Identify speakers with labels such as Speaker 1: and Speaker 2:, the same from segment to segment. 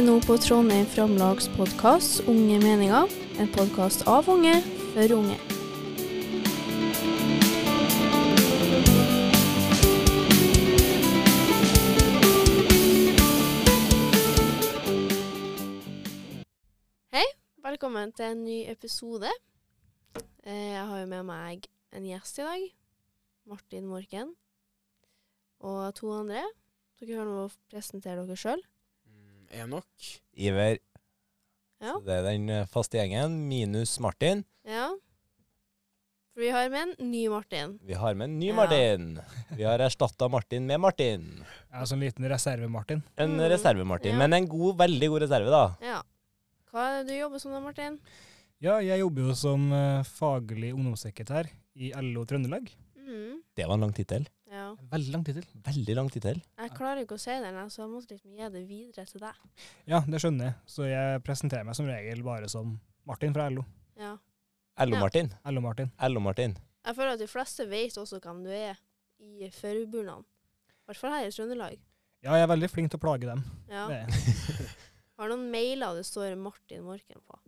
Speaker 1: nå på Trondheim Framlags podkast Unge meninger, en podkast av unge for unge. Hei, velkommen til en ny episode. Eh, Jeg har jo med meg en gjest i dag. Martin Morken. Og to andre. Dere kan nå presentere dere sjøl.
Speaker 2: Mm, Enok.
Speaker 3: Iver.
Speaker 1: Ja.
Speaker 3: Så det er den eh, faste gjengen, minus Martin.
Speaker 1: Ja. For vi har med en ny Martin.
Speaker 3: Vi har med en ny
Speaker 1: Ja.
Speaker 3: Martin. Vi har erstatta Martin med Martin.
Speaker 4: Ja, så en sånn liten reserve, Martin.
Speaker 3: En
Speaker 1: Mm,
Speaker 3: reserve-Martin,
Speaker 1: ja.
Speaker 3: men en god, veldig god reserve, da.
Speaker 1: Ja. Hva er det du jobber som da, Martin?
Speaker 4: Ja, jeg jobber jo som eh, faglig ungdomssekretær i LO Trøndelag.
Speaker 1: Mhm.
Speaker 3: Det var en lang tittel.
Speaker 1: Ja.
Speaker 4: Veldig lang tittel.
Speaker 3: Veldig lang tittel.
Speaker 1: Jeg klarer ikke å si den, jeg, så jeg måtte liksom gi det videre til deg.
Speaker 4: Ja, det skjønner jeg. Så jeg presenterer meg som regel bare som Martin fra LO.
Speaker 1: Ja. Ja.
Speaker 3: LO-Martin.
Speaker 4: LO-Martin.
Speaker 3: LO-Martin.
Speaker 1: Jeg føler at de fleste vet også hvem du er i forbundene. I hvert fall her i Trøndelag.
Speaker 4: Ja, jeg er veldig flink til å plage dem.
Speaker 1: Ja.
Speaker 4: Det er jeg.
Speaker 1: Har noen mailer det står Martin Morken på?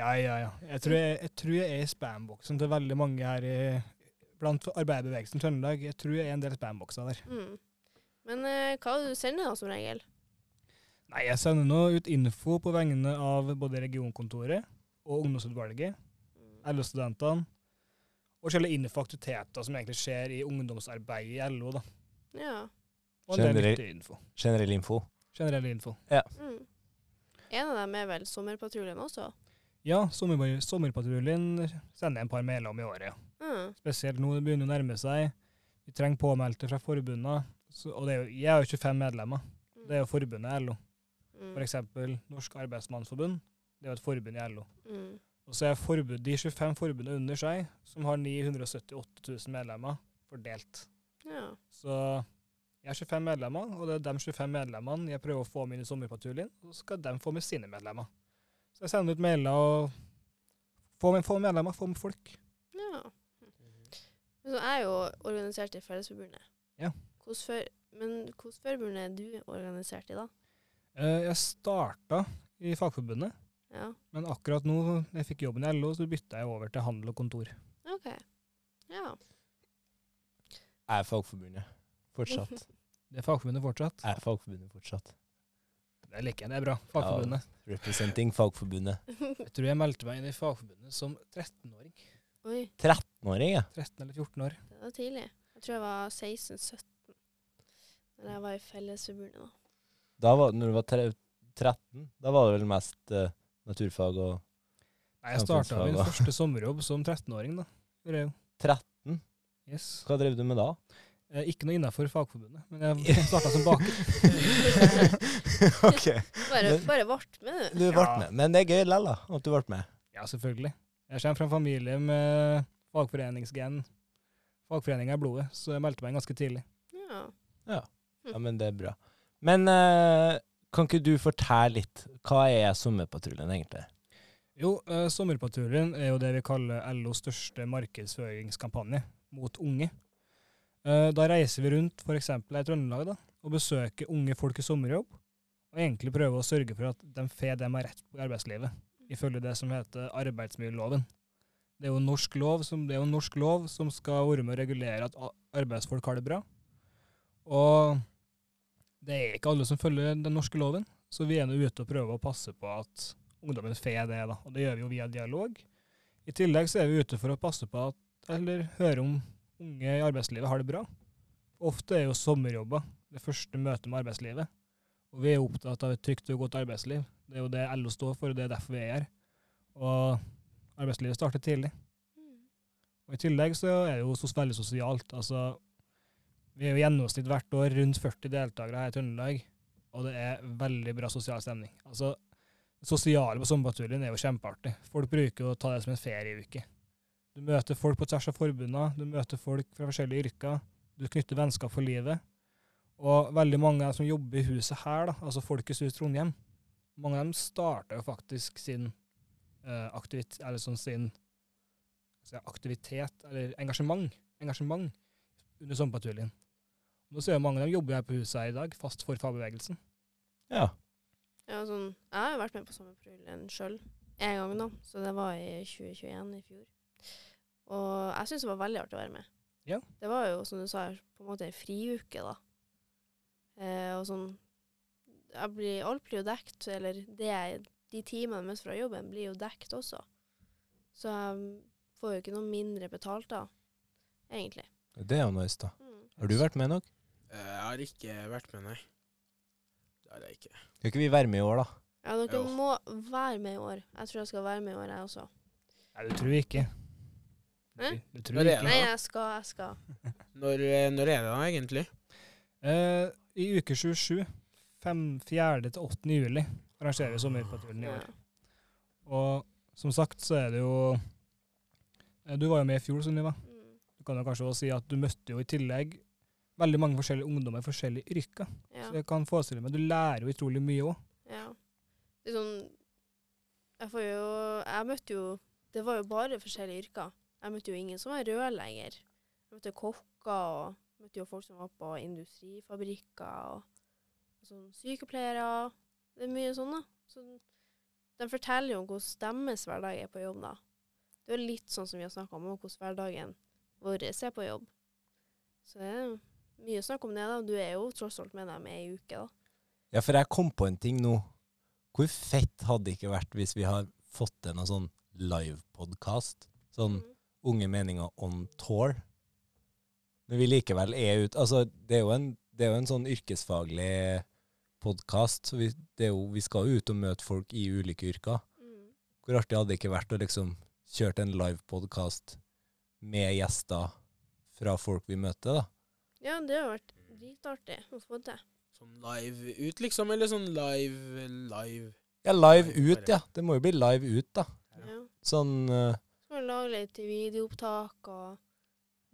Speaker 4: Ja, ja, ja. Jeg tror jeg, jeg, tror jeg er i spamboksen til veldig mange her i, blant arbeiderbevegelsen i Trøndelag. Jeg tror jeg er en del spambokser der.
Speaker 1: Mm. Men eh, hva er det du sender da, som regel?
Speaker 4: Nei, jeg sender nå ut info på vegne av både regionkontoret og ungdomsutvalget. LO-studentene. Og selve info-aktiviteter som egentlig skjer i ungdomsarbeidet i LO. da.
Speaker 1: Ja.
Speaker 4: Og en del
Speaker 3: Generell-
Speaker 4: nyttig info.
Speaker 3: Generell info.
Speaker 4: Generell info.
Speaker 1: Mm. En av dem er vel Sommerpatruljen også?
Speaker 4: Ja, sommer, sommerpatruljen sender en par mailer om i året. ja.
Speaker 1: Mm.
Speaker 4: Spesielt nå det begynner å nærme seg. Vi trenger påmeldte fra forbundene. Så, og det er jo, jeg har jo 25 medlemmer. Det er jo forbundet i LO.
Speaker 1: Mm.
Speaker 4: For eksempel Norsk Arbeidsmannsforbund. Det er jo et forbund i LO.
Speaker 1: Mm.
Speaker 4: Og så er forbund, de 25 forbundene under seg, som har 978 000 medlemmer, fordelt.
Speaker 1: Mm. Ja.
Speaker 4: Så jeg har 25 medlemmer, og det er de 25 medlemmene jeg prøver å få med inn i sommerpatruljen, og så skal de få med sine medlemmer. Så jeg sender ut mailer og få med, få med medlemmer, få med folk.
Speaker 1: ja. Så jeg er jo organisert i Fellesforbundet.
Speaker 4: Ja.
Speaker 1: Hvordan for, men hvordan forbund er du organisert i, da?
Speaker 4: Eh, Jeg starta i Fagforbundet,
Speaker 1: Ja,
Speaker 4: men akkurat nå når jeg fikk jobben i LO, så bytta jeg over til handel og kontor.
Speaker 1: OK. Ja.
Speaker 3: Er Fagforbundet fortsatt.
Speaker 4: Det er Fagforbundet fortsatt.
Speaker 3: Er Fagforbundet fortsatt.
Speaker 4: Det liker jeg, det er bra. Fagforbundet.
Speaker 3: Representing Fagforbundet.
Speaker 4: Jeg tror jeg meldte meg inn i Fagforbundet som 13-åring.
Speaker 1: Oi,
Speaker 3: 13-åring, ja.
Speaker 4: 13 eller 14 år.
Speaker 1: det var tidlig. Jeg tror jeg var 16-17 da jeg var i Fellesforbundet. da.
Speaker 3: Da var, når du var tre- 13, da var det vel mest eh, naturfag og
Speaker 4: Nei, jeg starta min første sommerjobb som 13-åring, da. Gjorde jeg jo.
Speaker 3: 13?
Speaker 4: Yes.
Speaker 3: Hva drev du med da?
Speaker 4: Eh, Ikke noe innafor Fagforbundet, men jeg starta som baker.
Speaker 3: ok.
Speaker 1: Bare,
Speaker 3: Men-
Speaker 1: bare vart med, du.
Speaker 3: Du ble
Speaker 4: Ja.
Speaker 3: med. Men det er gøy likevel, da. At du ble med.
Speaker 4: Ja, selvfølgelig. Jeg kommer fra en familie med fagforeningsgen. Fagforeninga i blodet, så jeg meldte meg inn ganske tidlig.
Speaker 1: Ja.
Speaker 3: Ja, men det er bra. Men eh, kan ikke du fortelle litt? Hva er Sommerpatruljen egentlig?
Speaker 4: Jo, eh, Sommerpatruljen er jo det vi kaller LOs største markedsføringskampanje mot unge. Eh, da reiser vi rundt f.eks. i Trøndelag da, og besøker unge folk i sommerjobb, og egentlig prøver å sørge for at de får det de har rett på i arbeidslivet, ifølge det som heter arbeidsmiljøloven. Det er jo norsk lov som, det er jo norsk lov som skal være med å regulere at a- arbeidsfolk har det bra. Og det er ikke alle som følger den norske loven, så vi er nå ute og prøver å passe på at ungdommen får det, da. Og det gjør vi jo via dialog. I tillegg så er vi ute for å passe på at, eller høre om unge i arbeidslivet har det bra. Ofte er jo sommerjobber det første møtet med arbeidslivet. Og vi er opptatt av et trygt og godt arbeidsliv. Det er jo det LO står for, og det er derfor vi er her. Og arbeidslivet starter tidlig.
Speaker 1: Mm.
Speaker 4: Og i tillegg så er det jo sos veldig sosialt. Altså, vi er jo i gjennomsnitt hvert år rundt 40 deltakere her i Trøndelag, og det er veldig bra sosial stemning. Altså, det sosiale på sommerpatruljen er jo kjempeartig. Folk bruker jo å ta det som en ferieuke. Du møter folk på tvers av forbundene, du møter folk fra forskjellige yrker, du knytter vennskap for livet. Og veldig mange av dem som jobber i huset her, da, altså Folkets hus Trondheim, mange av dem starta jo faktisk sin eh, aktivit, eller sånn sin skal jeg si, aktivitet, eller engasjement, engasjement under sommerpatruljen. Nå ser jeg mange av dem jobber her på huset her i dag, fast for fagbevegelsen.
Speaker 3: Ja.
Speaker 1: ja. var sånn, jeg har jo vært med på sommerpatruljen sjøl en gang nå, så det var i 2021 i fjor. Og jeg syns det var veldig artig å være med.
Speaker 4: Ja.
Speaker 1: Det var jo, som du sa, på en måte en friuke, da. Eh, og sånn jeg blir, Alt blir jo dekt, eller det jeg, de timene mest fra jobben blir jo dekt også. Så jeg får jo ikke noe mindre betalt da, egentlig.
Speaker 3: Det er jo nice, da.
Speaker 1: Mm.
Speaker 3: Har du vært med nok?
Speaker 2: Eh, Jeg har ikke vært med, nei. Det har jeg ikke.
Speaker 3: Kan ikke vi være med i år, da?
Speaker 1: Ja, dere
Speaker 2: Jo.
Speaker 1: må være med i år. Jeg tror jeg skal være med i år, jeg også.
Speaker 4: Nei, du tror ikke.
Speaker 1: Hæ?
Speaker 4: Du- Du tror
Speaker 2: Hva er det
Speaker 4: ikke.
Speaker 2: da?
Speaker 1: Nei, jeg skal, jeg skal.
Speaker 2: Når, eh, når er det da, egentlig?
Speaker 4: Eh, I uke 27, 5, 4. til 8. juli, arrangerer vi sommerpatruljen i
Speaker 1: Ja.
Speaker 4: år. Og som sagt så er det jo eh, Du var jo med i fjor, Sunniva.
Speaker 1: Mm.
Speaker 4: Du kan jo kanskje også si at du møtte jo i tillegg veldig mange forskjellige ungdommer i forskjellige yrker.
Speaker 1: Ja.
Speaker 4: Så jeg kan forestille meg, Du lærer jo utrolig mye òg.
Speaker 1: ja. Det er sånn Jeg får jo Jeg møtte jo Det var jo bare forskjellige yrker. Jeg møtte jo ingen som var rørlegger. Jeg møtte kokker og møtte jo folk som var på industrifabrikker og, og sånn sykepleiere. Det er mye sånn, da. Så de forteller jo om hvordan deres hverdag er på jobb, da. Det er jo litt sånn som vi har snakka om, om hvordan hverdagen vår er på jobb. Så det er mye snakk om det, da. Du er jo tross alt med dem ei uke, da.
Speaker 3: Ja, for jeg kom på en ting nå. Hvor fett hadde det ikke vært hvis vi har fått til noe sånn livepodkast?
Speaker 4: Mm.
Speaker 3: Sånn
Speaker 1: Mhm.
Speaker 3: Unge meninger on tour. Når vi likevel er ute Altså, det er jo en, det er jo en sånn yrkesfaglig podkast. Vi, det er jo- vi skal jo ut og møte folk i ulike yrker.
Speaker 1: Mm.
Speaker 3: Hvor artig hadde det ikke vært å liksom kjørt en livepodkast med gjester fra folk vi møter, da?
Speaker 1: Ja, det har vært dritartig å få til.
Speaker 2: Sånn live ut, liksom? Eller sånn live live
Speaker 3: Ja, live ut, ja. Det må jo bli live ut, da.
Speaker 2: Ja.
Speaker 1: Ja.
Speaker 3: Sånn eh,
Speaker 1: Så kan vi lage litt videoopptak, og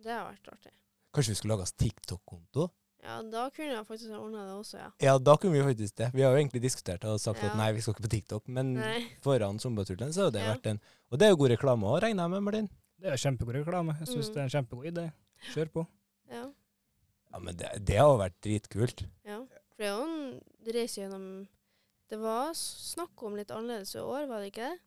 Speaker 1: det har vært artig.
Speaker 3: Kanskje vi skulle lage oss TikTok-konto?
Speaker 1: Ja, da kunne jeg faktisk ha ordna det også, ja.
Speaker 3: Ja, da kunne vi jo faktisk det. Vi har jo egentlig diskutert og sagt
Speaker 1: Ja.
Speaker 3: at nei, vi skal ikke på TikTok,
Speaker 4: Mm.
Speaker 3: men
Speaker 1: Nei.
Speaker 3: foran sommerpatruljen så har det
Speaker 1: Ja.
Speaker 3: vært en Og det er jo god reklame òg, regner jeg med, Martin?
Speaker 4: Det er jo kjempegod reklame. Jeg syns
Speaker 1: Mm.
Speaker 4: det er en kjempegod idé. Kjør på.
Speaker 1: Ja.
Speaker 3: Ja, men det, det har jo vært dritkult.
Speaker 1: ja. For det er jo en reise gjennom Det var s- snakk om litt annerledes i år, var det ikke det?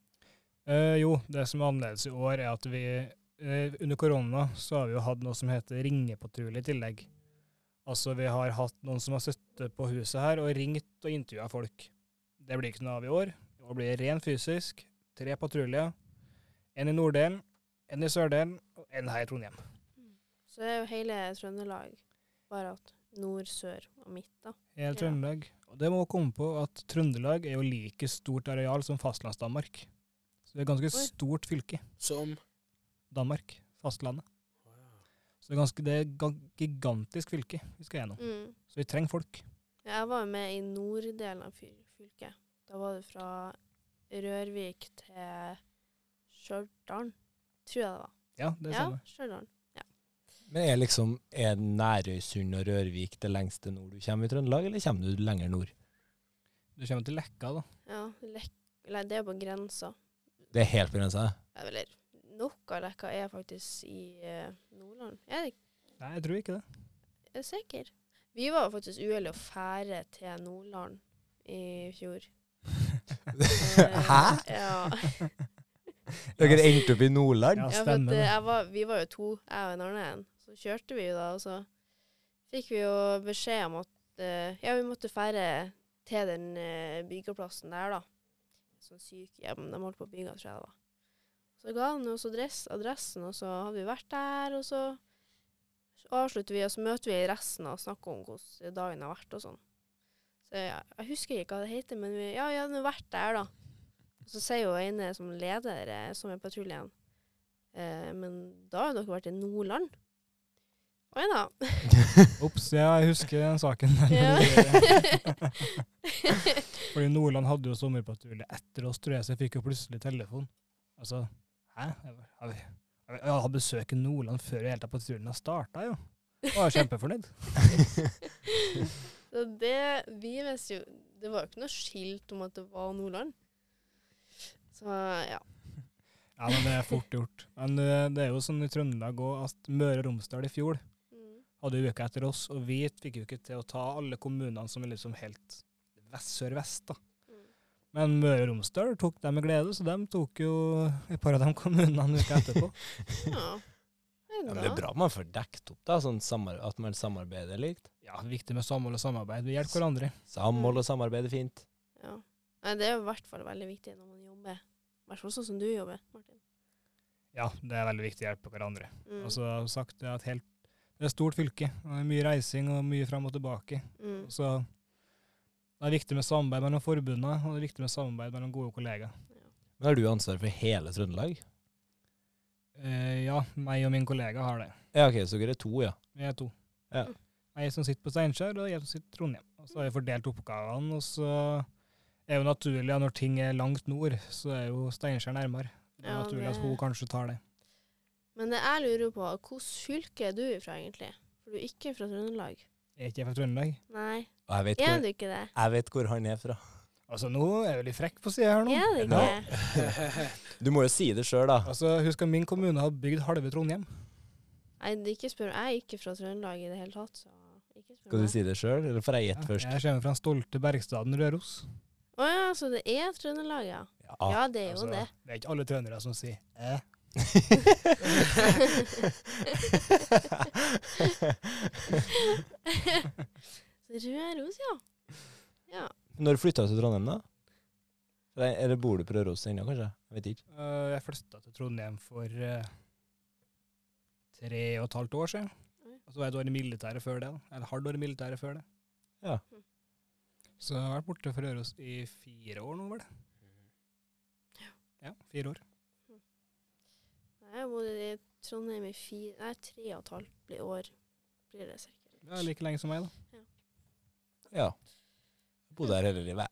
Speaker 4: Eh, jo, det som er annerledes i år, er at vi eh, under korona så har vi jo hatt noe som heter ringepatrulje i tillegg. Altså vi har hatt noen som har sittet på huset her og ringt og intervjua folk. Det blir ikke noe av i år. I år blir det ren fysisk. Tre patruljer. En i norddelen, en i sørdelen og en her i Trondheim.
Speaker 1: Så det er jo hele Trøndelag. Bare at nord, sør og midt, da.
Speaker 4: Hele Trøndelag. Og det må komme på at Trøndelag er jo like stort areal som fastlands-Danmark. Så det er et ganske
Speaker 1: Oi.
Speaker 4: stort fylke.
Speaker 2: som
Speaker 4: Danmark. Fastlandet. Så det er, ganske, det er ga- gigantisk fylke vi skal gjennom.
Speaker 1: Mm.
Speaker 4: Så vi trenger folk.
Speaker 1: Ja, Jeg var jo med i norddelen av fyl- fylket. Da var det fra Rørvik til Stjørdal, tror jeg det var.
Speaker 4: Ja, det
Speaker 1: ja,
Speaker 4: stemmer.
Speaker 1: Stjørdal.
Speaker 3: Men er liksom er Nærøysund og Rørvik det lengste nord du kommer i Trøndelag, eller kommer du lenger nord?
Speaker 4: Du kommer til Lekka, da.
Speaker 1: Ja, lek eller det er på grensa.
Speaker 3: Det er helt på grensa.
Speaker 1: Eller noe av Leka er faktisk i eh, Nordland. Er det ikke?
Speaker 4: Nei, jeg tror ikke det.
Speaker 1: Er du sikker? Vi var faktisk uheldige å fære til Nordland i fjor. Eh,
Speaker 3: Hæ?
Speaker 1: Ja.
Speaker 3: Dere endte opp i Nordland?
Speaker 1: Ja,
Speaker 4: Ja,
Speaker 1: for at, eh,
Speaker 4: stemmer det.
Speaker 1: jeg var, vi var jo to, jeg og en annen en. Så kjørte vi jo da, og så fikk vi jo beskjed om at eh, ja, vi måtte fære til den eh, byggeplassen der, da. Sånn sykehjem, de holdt på å bygge, tror jeg det var. Så ga han oss adress, adressen, og så hadde vi vært der, og så avslutter vi, og så møter vi resten og snakker om hvordan dagen har vært og sånn. Så jeg, jeg husker ikke hva det heter, men vi, ja, vi hadde nå vært der, da. Og så sier jo ene som leder eh, som er patruljen, Eh, men da har dere vært i Nordland. Oi da.
Speaker 4: Ops, ja, jeg husker den saken der.
Speaker 1: Ja.
Speaker 4: Fordi Nordland hadde jo sommerpatrulje etter oss, tror jeg, så jeg fikk jo plutselig telefon. Altså, hæ? Jeg var- Har vi har vi- jeg har besøk i Nordland før i hele tatt patruljen har starta, jo. Jeg var kjempefornøyd.
Speaker 1: Så det Vi visste jo Det var jo ikke noe skilt om at det var Nordland. Så ja.
Speaker 4: Ja, men det er fort gjort. Men eh, det er jo sånn i Trøndelag òg at Møre og Romsdal i fjor
Speaker 1: Mm.
Speaker 4: hadde jo uka etter oss, og vi fikk jo ikke til å ta alle kommunene som er liksom helt vest sør-vest, da.
Speaker 1: Mm.
Speaker 4: Men Møre og Romsdal tok dem med glede, så de tok jo et par av de kommunene uka etterpå.
Speaker 1: Ja. Nei,
Speaker 3: Ja,
Speaker 1: da.
Speaker 3: men det er bra man får dekt opp, da, sånn samar at man samarbeider likt.
Speaker 4: Ja, viktig med samhold og samarbeid. Vi hjelper hverandre. Mm.
Speaker 3: Samhold og samarbeid er fint.
Speaker 1: Ja. Nei, det er jo i hvert fall veldig viktig når man jobber. I hvert fall sånn som du jobber, Martin.
Speaker 4: Ja, det er veldig viktig å hjelpe hverandre.
Speaker 1: Mm.
Speaker 3: Altså,
Speaker 4: Og så har jeg sagt det er et helt det er et stort fylke. og det er Mye reising og mye fram og tilbake.
Speaker 1: mm.
Speaker 3: altså.
Speaker 4: Så det er viktig med samarbeid mellom forbundene, og det er viktig med samarbeid mellom gode kollegaer.
Speaker 3: Men har du ansvar for hele Trøndelag?
Speaker 4: Eh, ja, meg og min kollega har det.
Speaker 3: Ja, OK, så dere er to, ja.
Speaker 4: Vi er to.
Speaker 3: Ja.
Speaker 4: Jeg som sitter på Steinkjer, og jeg som sitter i Trondheim. Og så har vi fordelt oppgavene, og så er jo naturlig at når ting er langt nord, så er jo Steinkjer nærmere. Det er
Speaker 1: Ja,
Speaker 4: naturlig at
Speaker 1: det-
Speaker 4: hun kanskje tar det.
Speaker 1: Men det jeg lurer på, hvilket fylke er du ifra egentlig? For du er ikke fra Trøndelag.
Speaker 4: Er ikke jeg fra Trøndelag?
Speaker 1: Nei,
Speaker 3: Og jeg vet,
Speaker 1: er
Speaker 3: hvor,
Speaker 1: du ikke det?
Speaker 3: jeg vet hvor han er fra.
Speaker 4: Altså, nå er jeg jo litt frekk på sida her nå.
Speaker 1: Er du ikke
Speaker 3: Ja.
Speaker 1: det?
Speaker 3: Du må jo si det sjøl, da.
Speaker 4: Altså, Husk at min kommune har bygd halve Trondheim.
Speaker 1: Nei, det er ikke spør Jeg er ikke fra Trøndelag i det hele tatt, så ikke spør
Speaker 3: Skal du
Speaker 1: meg.
Speaker 3: si det sjøl, eller får jeg
Speaker 4: Ja,
Speaker 3: gjette først?
Speaker 4: Jeg kommer fra den stolte bergstaden Røros.
Speaker 1: Å ja, så det er Trøndelag, ja.
Speaker 3: Ah, Ja.
Speaker 1: Ja, det er jo
Speaker 4: Altså,
Speaker 1: det.
Speaker 4: det er ikke alle trøndere som sier eh.
Speaker 1: Røros, ja.
Speaker 3: Når flytta du til Trondheim, da? Eller, eller bor du på Røros ennå, kanskje? Jeg vet ikke.
Speaker 4: Eh, Jeg flytta til Trondheim for eh, tre og et halvt år siden.
Speaker 1: Oi.
Speaker 4: Og så var jeg et år i militæret før det. da. Eller halvt år i militæret før det.
Speaker 3: Ja.
Speaker 1: Mm.
Speaker 4: Så jeg har vært borte fra Røros i fire år nå, vel? Ja, fire år.
Speaker 1: Jeg har bodd i Trondheim i fire, nei, tre og et halvt blir år. Blir det sikkert.
Speaker 4: Det er like lenge som meg, da.
Speaker 3: Ja. Jeg bodde her hele livet.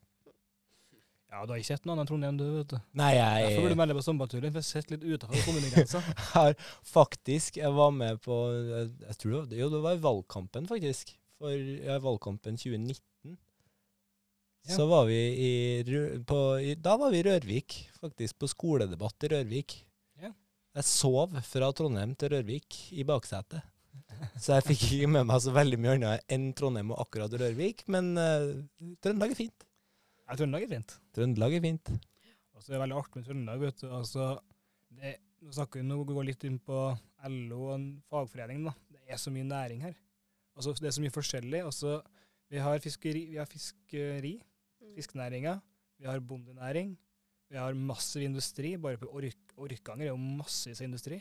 Speaker 4: Ja, du har ikke sett noe annet enn Trondheim, du, vet du.
Speaker 3: Nei, jeg
Speaker 4: Derfor burde du melde deg på sommerturen, for jeg sitter litt utenfor kommunegrensa.
Speaker 3: har faktisk Jeg var med på jeg, jeg tror det, var- Jo, det var i valgkampen, faktisk. For ja, valgkampen 2019.
Speaker 4: Ja.
Speaker 3: Så var vi i, Rø- på, i Da var vi i Rørvik, faktisk. På skoledebatt i Rørvik.
Speaker 4: Ja.
Speaker 3: Jeg sov fra Trondheim til Rørvik i baksetet. Så jeg fikk ikke med meg så veldig mye annet enn Trondheim og akkurat Rørvik, men eh, Trøndelag er fint.
Speaker 4: Ja, Trøndelag er fint.
Speaker 3: Trøndelag er fint.
Speaker 4: Og så er det veldig artig med Trøndelag, vet du. Altså, det, nå snakker vi nå går vi litt inn på LO og en fagforening, da. Det er så mye næring her. Altså, det er så mye forskjellig. Altså, vi har fiskeri, vi har fiskeri,
Speaker 1: Mm.
Speaker 4: fiskenæringa, vi har bondenæring, vi har massiv industri. Bare på ork, Orkanger er jo massevis av industri.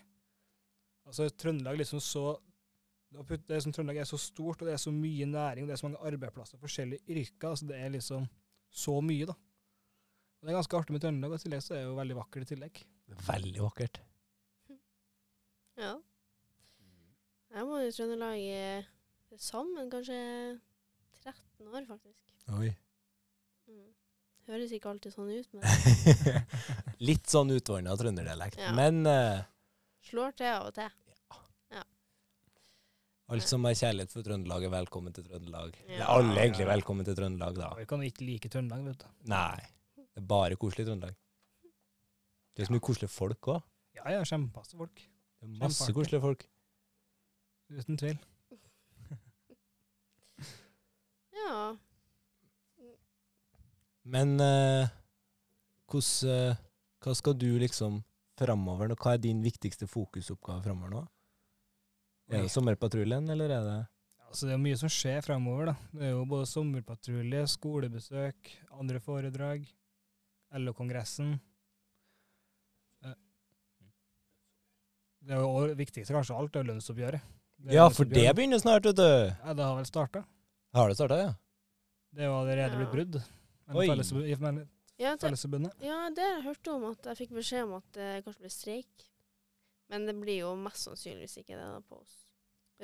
Speaker 4: Altså, Trøndelag liksom så det å putte- det som Trøndelag er så stort, og det er så mye næring, og det er så mange arbeidsplasser, forskjellige yrker. altså Det er liksom så mye, da. Og Det er ganske artig med Trøndelag, og i tillegg så er det jo veldig vakkert i tillegg.
Speaker 3: Veldig vakkert.
Speaker 1: Ja. Jeg bodde i Trøndelag i til sammen kanskje 13 år, faktisk.
Speaker 3: Oi.
Speaker 1: Mm. Høres ikke alltid sånn ut, men
Speaker 3: Litt sånn utvanna trønderdialekt,
Speaker 1: Ja.
Speaker 3: men eh,
Speaker 1: slår til av og til.
Speaker 3: Alt som har kjærlighet for Trøndelag, er velkommen til Trøndelag.
Speaker 1: Ja.
Speaker 3: Eller alle er egentlig velkommen til Trøndelag, da.
Speaker 4: Og Vi kan jo ikke like Trøndelag, vet du.
Speaker 3: Nei. Det er bare koselig i Trøndelag. Det er så mye koselige folk òg.
Speaker 4: Ja, ja, kjempepasse folk.
Speaker 3: Masse
Speaker 4: Kjempeartig.
Speaker 3: koselige folk.
Speaker 4: Uten tvil.
Speaker 1: Ja.
Speaker 3: Men eh, hvordan eh, Hva skal du liksom framover nå? Hva er din viktigste fokusoppgave framover nå? Er det sommerpatruljen, eller er det
Speaker 4: Altså, det er mye som skjer fremover. da. Det er jo både sommerpatrulje, skolebesøk, andre foredrag, LO-kongressen. Eh, Det er jo også- viktigste kanskje av alt, det er jo lønnsoppgjøret. Det er
Speaker 3: Ja, for det
Speaker 4: lønnsoppgjøret.
Speaker 3: begynner snart, vet du!
Speaker 4: Ja, det har vel starta.
Speaker 3: Har det starta, ja?
Speaker 4: Det er jo allerede blitt
Speaker 1: Ja.
Speaker 4: brudd. Men
Speaker 3: Oi.
Speaker 4: felles- i men-
Speaker 1: Ja, det,
Speaker 4: Fellesforbundet.
Speaker 1: ja, det har jeg hørt om at jeg fikk beskjed om at det kanskje blir streik. Men det blir jo mest sannsynligvis ikke det da på oss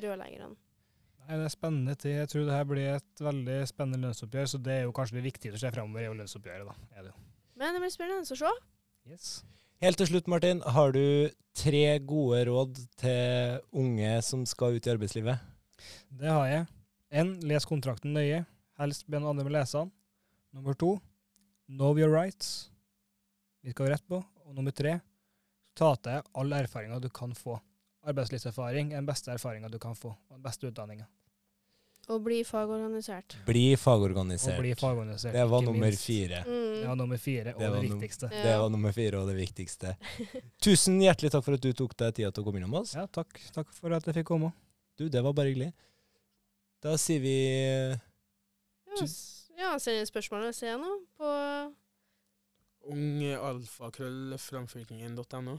Speaker 1: rørleggerne.
Speaker 4: Nei, Det er spennende tid. Jeg tror det her blir et veldig spennende lønnsoppgjør, så det er jo kanskje det viktige som skjer fremover, er jo lønnsoppgjøret, da. Er det jo.
Speaker 1: Men det blir spennende å se.
Speaker 4: Yes.
Speaker 3: Helt til slutt, Martin, har du tre gode råd til unge som skal ut i arbeidslivet?
Speaker 4: Det har jeg. En, les kontrakten nøye. Helst be noen andre med å lese den. Nummer to, know your rights. Vi skal ha rett på. Og nummer tre, ta til deg all erfaringa du kan få. Arbeidslivserfaring er den beste erfaringa du kan få, og den beste utdanninga.
Speaker 1: Og bli fagorganisert.
Speaker 3: Bli
Speaker 4: Og
Speaker 3: fagorganisert.
Speaker 4: bli fagorganisert.
Speaker 3: det var
Speaker 4: ikke
Speaker 3: nummer
Speaker 4: minst.
Speaker 3: fire.
Speaker 1: Mm. Eh,
Speaker 4: Det var nummer fire,
Speaker 3: Det
Speaker 4: og det,
Speaker 3: var num-
Speaker 4: viktigste.
Speaker 1: Ja.
Speaker 3: Det var nummer fire og det viktigste. Tusen hjertelig takk for at du tok deg tida til å komme innom oss.
Speaker 4: Ja, takk. Takk for at jeg fikk komme.
Speaker 3: Du, det var bare hyggelig. Da sier vi
Speaker 1: Ja, s- Ja, send inn spørsmål og se nå på
Speaker 2: Ungalfakrøllframføringen.no.